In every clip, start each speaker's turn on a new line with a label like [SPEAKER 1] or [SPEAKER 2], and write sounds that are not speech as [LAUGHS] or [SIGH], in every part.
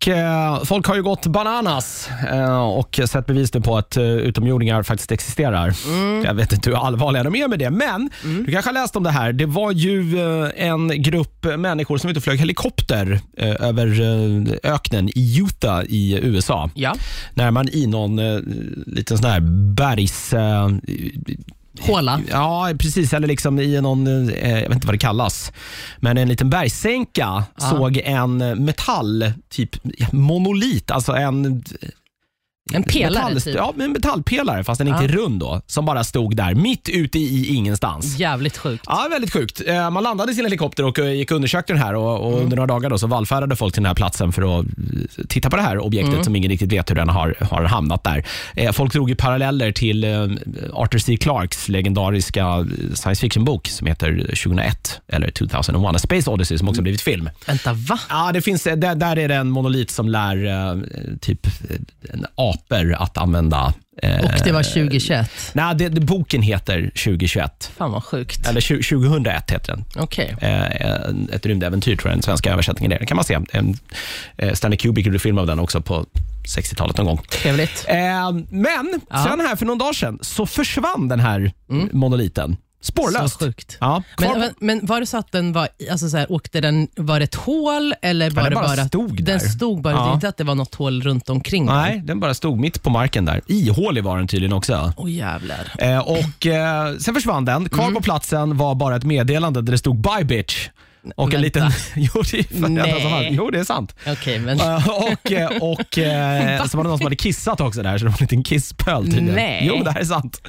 [SPEAKER 1] Och eh, folk har ju gått bananas eh, och sett bevis nu på att eh, utomjordingar faktiskt existerar. Jag vet inte hur allvarliga de är med det, men du kanske har läst om det här. Det var ju eh, en grupp människor som inte flög helikopter eh, över eh, öknen i Utah i USA.
[SPEAKER 2] Ja.
[SPEAKER 1] När man i någon eh, liten sån här bergs... Eh,
[SPEAKER 2] Håla.
[SPEAKER 1] Ja, precis. Eller liksom i någon, eh, jag vet inte vad det kallas, men en liten bergssänka såg en metall, typ monolit, alltså en
[SPEAKER 2] En pelare
[SPEAKER 1] metall,
[SPEAKER 2] typ.
[SPEAKER 1] ja, men en metallpelare, fast den
[SPEAKER 2] Ja.
[SPEAKER 1] inte är rund då, som bara stod där mitt ute i ingenstans.
[SPEAKER 2] Jävligt sjukt.
[SPEAKER 1] Ja, väldigt sjukt. Eh, Man landade i sin helikopter och eh, gick och undersökte den här och, och
[SPEAKER 2] Mm.
[SPEAKER 1] under några dagar då så vallfärdade folk till den här platsen för att eh, titta på det här objektet
[SPEAKER 2] Mm.
[SPEAKER 1] som ingen riktigt vet hur den har, har hamnat där. Eh, Folk drog ju paralleller till eh, Arthur C. Clarkes legendariska eh, science fiction-bok som heter 2001, eller 2001, A Space Odyssey, som också
[SPEAKER 2] Mm.
[SPEAKER 1] blivit film.
[SPEAKER 2] Vänta, va?
[SPEAKER 1] Ja, det finns, eh, där, där är det en monolit som lär eh, typ eh, en apor att använda. eh,
[SPEAKER 2] Och det var 2021.
[SPEAKER 1] Nej, det, det, boken heter 2021.
[SPEAKER 2] Fan vad sjukt.
[SPEAKER 1] Eller 20, 2001 heter den.
[SPEAKER 2] Okej.
[SPEAKER 1] Eh, en- ett rymdäventyr, tror jag, den svenska översättningen är. Det kan man se. En, eh, Stanley Kubrick gjorde film av den också på 60-talet någon gång.
[SPEAKER 2] Trevligt.
[SPEAKER 1] Eh, men
[SPEAKER 2] Ja. Mm.
[SPEAKER 1] sen här för någon dag sedan så försvann den här monoliten. Spårlöst.
[SPEAKER 2] Så sjukt.
[SPEAKER 1] Ja, kvar,
[SPEAKER 2] Men, men, men var det så att den var, i- alltså så här, åkte den, var det ett hål eller var
[SPEAKER 1] den
[SPEAKER 2] det
[SPEAKER 1] bara
[SPEAKER 2] bara
[SPEAKER 1] stod
[SPEAKER 2] den
[SPEAKER 1] där.
[SPEAKER 2] stod bara, det är
[SPEAKER 1] Ja.
[SPEAKER 2] inte att det var något hål runt omkring den?
[SPEAKER 1] nej, den bara stod mitt på marken där. Ihålig var den tydligen också.
[SPEAKER 2] Åh jävlar.
[SPEAKER 1] Eh, och eh, Sen försvann den. Kvar
[SPEAKER 2] Mm.
[SPEAKER 1] på platsen var bara ett meddelande där det stod “Bye bitch” och en
[SPEAKER 2] Vänta.
[SPEAKER 1] liten... [LAUGHS] jo, det är fan det enda som
[SPEAKER 2] Nej.
[SPEAKER 1] fanns. jo, det är sant.
[SPEAKER 2] Okej, men
[SPEAKER 1] Eh, och eh, och
[SPEAKER 2] [LAUGHS]
[SPEAKER 1] eh, så var det någon som hade kissat också där, så det var en liten kisspöl tydligen.
[SPEAKER 2] Nej.
[SPEAKER 1] Jo, det här är sant.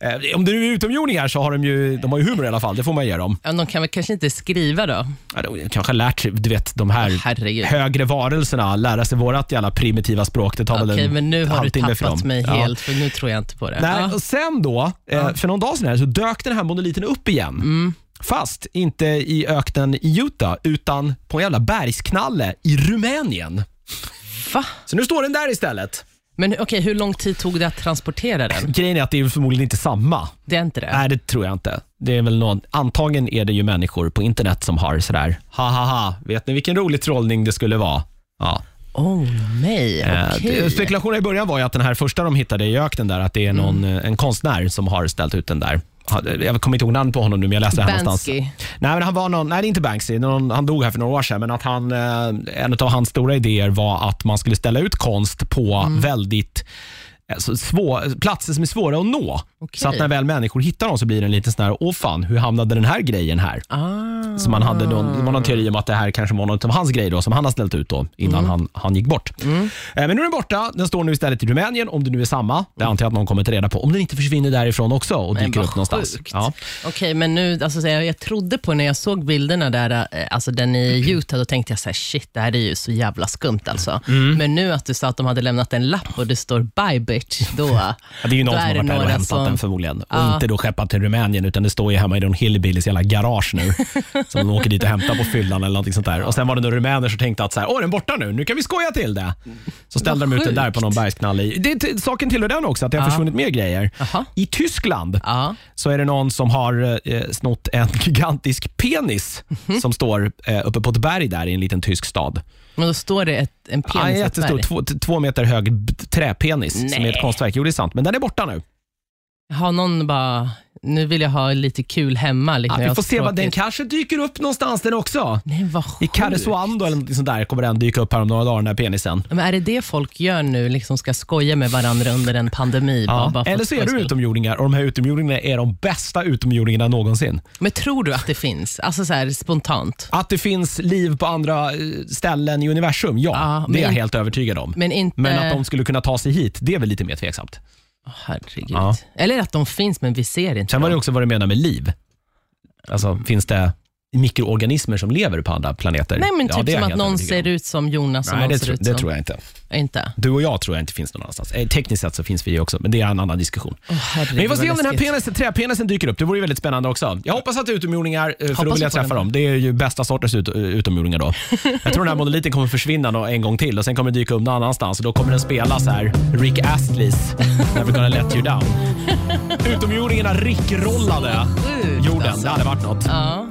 [SPEAKER 1] Eh, Om det nu är utomjordingar så har de ju, de har ju humor i alla fall, det får man ge dem.
[SPEAKER 2] ja, de kan väl kanske inte skriva då?
[SPEAKER 1] Ja, De kanske har lärt sig, du vet de här
[SPEAKER 2] Herregud.
[SPEAKER 1] högre varelserna, lära sig vårat jävla primitiva språk. Det tar
[SPEAKER 2] Okej,
[SPEAKER 1] väl en
[SPEAKER 2] men nu har du
[SPEAKER 1] halvtimme för
[SPEAKER 2] tappat
[SPEAKER 1] dem.
[SPEAKER 2] mig
[SPEAKER 1] Ja.
[SPEAKER 2] helt, för nu tror jag inte på det. Ah,
[SPEAKER 1] Nej,
[SPEAKER 2] Ja.
[SPEAKER 1] och sen då, eh, för någon dag sedan här, så dök den här monoliten upp igen.
[SPEAKER 2] Mm.
[SPEAKER 1] Fast inte i öknen i Utah, utan på en jävla bergsknalle i Rumänien.
[SPEAKER 2] Va?
[SPEAKER 1] Så nu står den där istället.
[SPEAKER 2] Men okej, hur lång tid tog det att transportera den?
[SPEAKER 1] Grejen är att det är ju förmodligen inte samma.
[SPEAKER 2] Det är inte det?
[SPEAKER 1] Nej, det tror jag inte. Det är väl någon, antagligen är det ju människor på internet som har sådär, ha ha ha, vet ni vilken rolig trollning det skulle vara? Ja.
[SPEAKER 2] Oh nej,
[SPEAKER 1] Eh,
[SPEAKER 2] okej.
[SPEAKER 1] det- Spekulationen i början var ju att den här första de hittade i öknen där, att det är någon,
[SPEAKER 2] Mm.
[SPEAKER 1] eh, en konstnär som har ställt ut den där. Ha- Jag kommer inte ihåg namnet på honom nu, men jag läste det här någonstans.
[SPEAKER 2] Bansky.
[SPEAKER 1] Nej, men han var någon, nej, det är inte Banksy. Någon, han dog här för några år sedan, men att han, eh, en av hans stora idéer var att man skulle ställa ut konst på
[SPEAKER 2] Mm.
[SPEAKER 1] väldigt alltså, svå, platser som är svåra att nå.
[SPEAKER 2] Okej.
[SPEAKER 1] Så att när väl människor hittar dem så blir det en liten sån här, åh fan, hur hamnade den här grejen här?
[SPEAKER 2] Ah,
[SPEAKER 1] Så man hade någon, det var någon teori om att det här kanske var något av hans grej då, som han har ställt ut då, innan
[SPEAKER 2] Mm.
[SPEAKER 1] han, han gick bort. Eh, Men nu är den borta. Den står nu istället i Rumänien, om det nu är samma. Det antar jag att någon kommer ta reda på. Om den inte försvinner därifrån också och
[SPEAKER 2] Mm. men
[SPEAKER 1] dyker
[SPEAKER 2] vad
[SPEAKER 1] upp någonstans.
[SPEAKER 2] sjukt.
[SPEAKER 1] Ja.
[SPEAKER 2] Okej, men nu, alltså, så här, jag trodde på när jag såg bilderna där, eh, alltså den i Utah, då tänkte jag så här, shit, det här är ju så jävla skumt alltså.
[SPEAKER 1] Mm.
[SPEAKER 2] Men nu att du sa att de hade lämnat en lapp och det står bye bitch, då...
[SPEAKER 1] [LAUGHS] Ja, det är ju någon som
[SPEAKER 2] då
[SPEAKER 1] har varit där och
[SPEAKER 2] några
[SPEAKER 1] hämtat
[SPEAKER 2] som-
[SPEAKER 1] den förmodligen. Och
[SPEAKER 2] Ja.
[SPEAKER 1] inte då skeppat till Rumänien, utan det står ju hemma i någon hillbillys jävla garage
[SPEAKER 2] [LAUGHS]
[SPEAKER 1] nu. som de åker dit och hämtar på fyllan eller någonting sånt där. Och sen var det några rumäner som tänkte att så här, åh den är borta nu, nu kan vi skoja till det. Så ställde
[SPEAKER 2] Vad
[SPEAKER 1] de ut den där på
[SPEAKER 2] sjukt.
[SPEAKER 1] någon bergsknalle. i. Det, det, saken tillhör den också, att det har försvunnit mer grejer.
[SPEAKER 2] Jaha.
[SPEAKER 1] I Tyskland
[SPEAKER 2] Ja.
[SPEAKER 1] så är det någon som har eh, snott en [LAUGHS] gigantisk penis
[SPEAKER 2] Mhm.
[SPEAKER 1] som står eh, uppe på ett berg där i en liten tysk stad.
[SPEAKER 2] Men då står det ett, en
[SPEAKER 1] Ja, en
[SPEAKER 2] penis i ett
[SPEAKER 1] jättestor,
[SPEAKER 2] berg.
[SPEAKER 1] två, t- två meter hög b- träpenis som är ett
[SPEAKER 2] Nej.
[SPEAKER 1] konstverk. Jo, det är sant, men den är borta nu.
[SPEAKER 2] Har någon bara, nu vill jag ha lite kul hemma. Liksom.
[SPEAKER 1] Ja,
[SPEAKER 2] jag
[SPEAKER 1] vi
[SPEAKER 2] har
[SPEAKER 1] får se vad den
[SPEAKER 2] tråkigt.
[SPEAKER 1] kanske dyker upp någonstans den också.
[SPEAKER 2] Nej, vad
[SPEAKER 1] I
[SPEAKER 2] sjukt.
[SPEAKER 1] Karesuando eller något sånt där kommer den dyka upp här om några dagar, den här penisen.
[SPEAKER 2] Men är det det folk gör nu, liksom ska skoja med varandra under en pandemi? bara- bara för
[SPEAKER 1] Eller så är
[SPEAKER 2] skojs
[SPEAKER 1] du
[SPEAKER 2] skull?
[SPEAKER 1] utomjordingar och de här utomjordingarna är de bästa utomjordingarna någonsin.
[SPEAKER 2] Men tror du att det finns? Alltså så här, spontant.
[SPEAKER 1] Att det finns liv på andra eh, ställen i universum, ja.
[SPEAKER 2] Ja,
[SPEAKER 1] det är jag
[SPEAKER 2] men-
[SPEAKER 1] helt övertygad om.
[SPEAKER 2] Men eh, inte...
[SPEAKER 1] Men att de skulle kunna ta sig hit, det är väl lite mer tveksamt.
[SPEAKER 2] Åh, Herregud.
[SPEAKER 1] Ja.
[SPEAKER 2] Eller att de finns, men vi ser inte
[SPEAKER 1] Sen var
[SPEAKER 2] dem.
[SPEAKER 1] det också vad du menar med liv. Alltså, finns det mikroorganismer som lever på andra planeter?
[SPEAKER 2] Nej, men
[SPEAKER 1] Ja,
[SPEAKER 2] typ
[SPEAKER 1] det är jag
[SPEAKER 2] som att
[SPEAKER 1] helt
[SPEAKER 2] någon
[SPEAKER 1] övertygad om.
[SPEAKER 2] ser ut som Jonas och
[SPEAKER 1] Nej,
[SPEAKER 2] någon
[SPEAKER 1] det,
[SPEAKER 2] ser
[SPEAKER 1] tro,
[SPEAKER 2] ut
[SPEAKER 1] det
[SPEAKER 2] som...
[SPEAKER 1] tror jag inte.
[SPEAKER 2] Inte?
[SPEAKER 1] Du och jag tror jag inte finns någon annanstans. Eh, tekniskt sett så finns vi också, men det är en annan diskussion.
[SPEAKER 2] Åh, herregud,
[SPEAKER 1] Men vi får
[SPEAKER 2] vad
[SPEAKER 1] se om den här
[SPEAKER 2] läskigt.
[SPEAKER 1] penisen, träpenisen dyker upp. Det vore ju väldigt spännande också. Jag hoppas att det är utomjordingar, eh, för då
[SPEAKER 2] Hoppas
[SPEAKER 1] vill jag
[SPEAKER 2] vi får
[SPEAKER 1] träffa
[SPEAKER 2] den.
[SPEAKER 1] dem. Det är ju bästa sortens ut, eh, utomjordingar då. Jag tror den här monoliten kommer försvinna då en gång till och sen kommer den dyka upp någon annanstans och då kommer den spela så här Rick Astleys Never gonna let
[SPEAKER 2] [LAUGHS]
[SPEAKER 1] you down. Utomjordingarna rickrollade
[SPEAKER 2] Sjukt,
[SPEAKER 1] jorden.
[SPEAKER 2] alltså.
[SPEAKER 1] Det hade varit något.
[SPEAKER 2] Ja.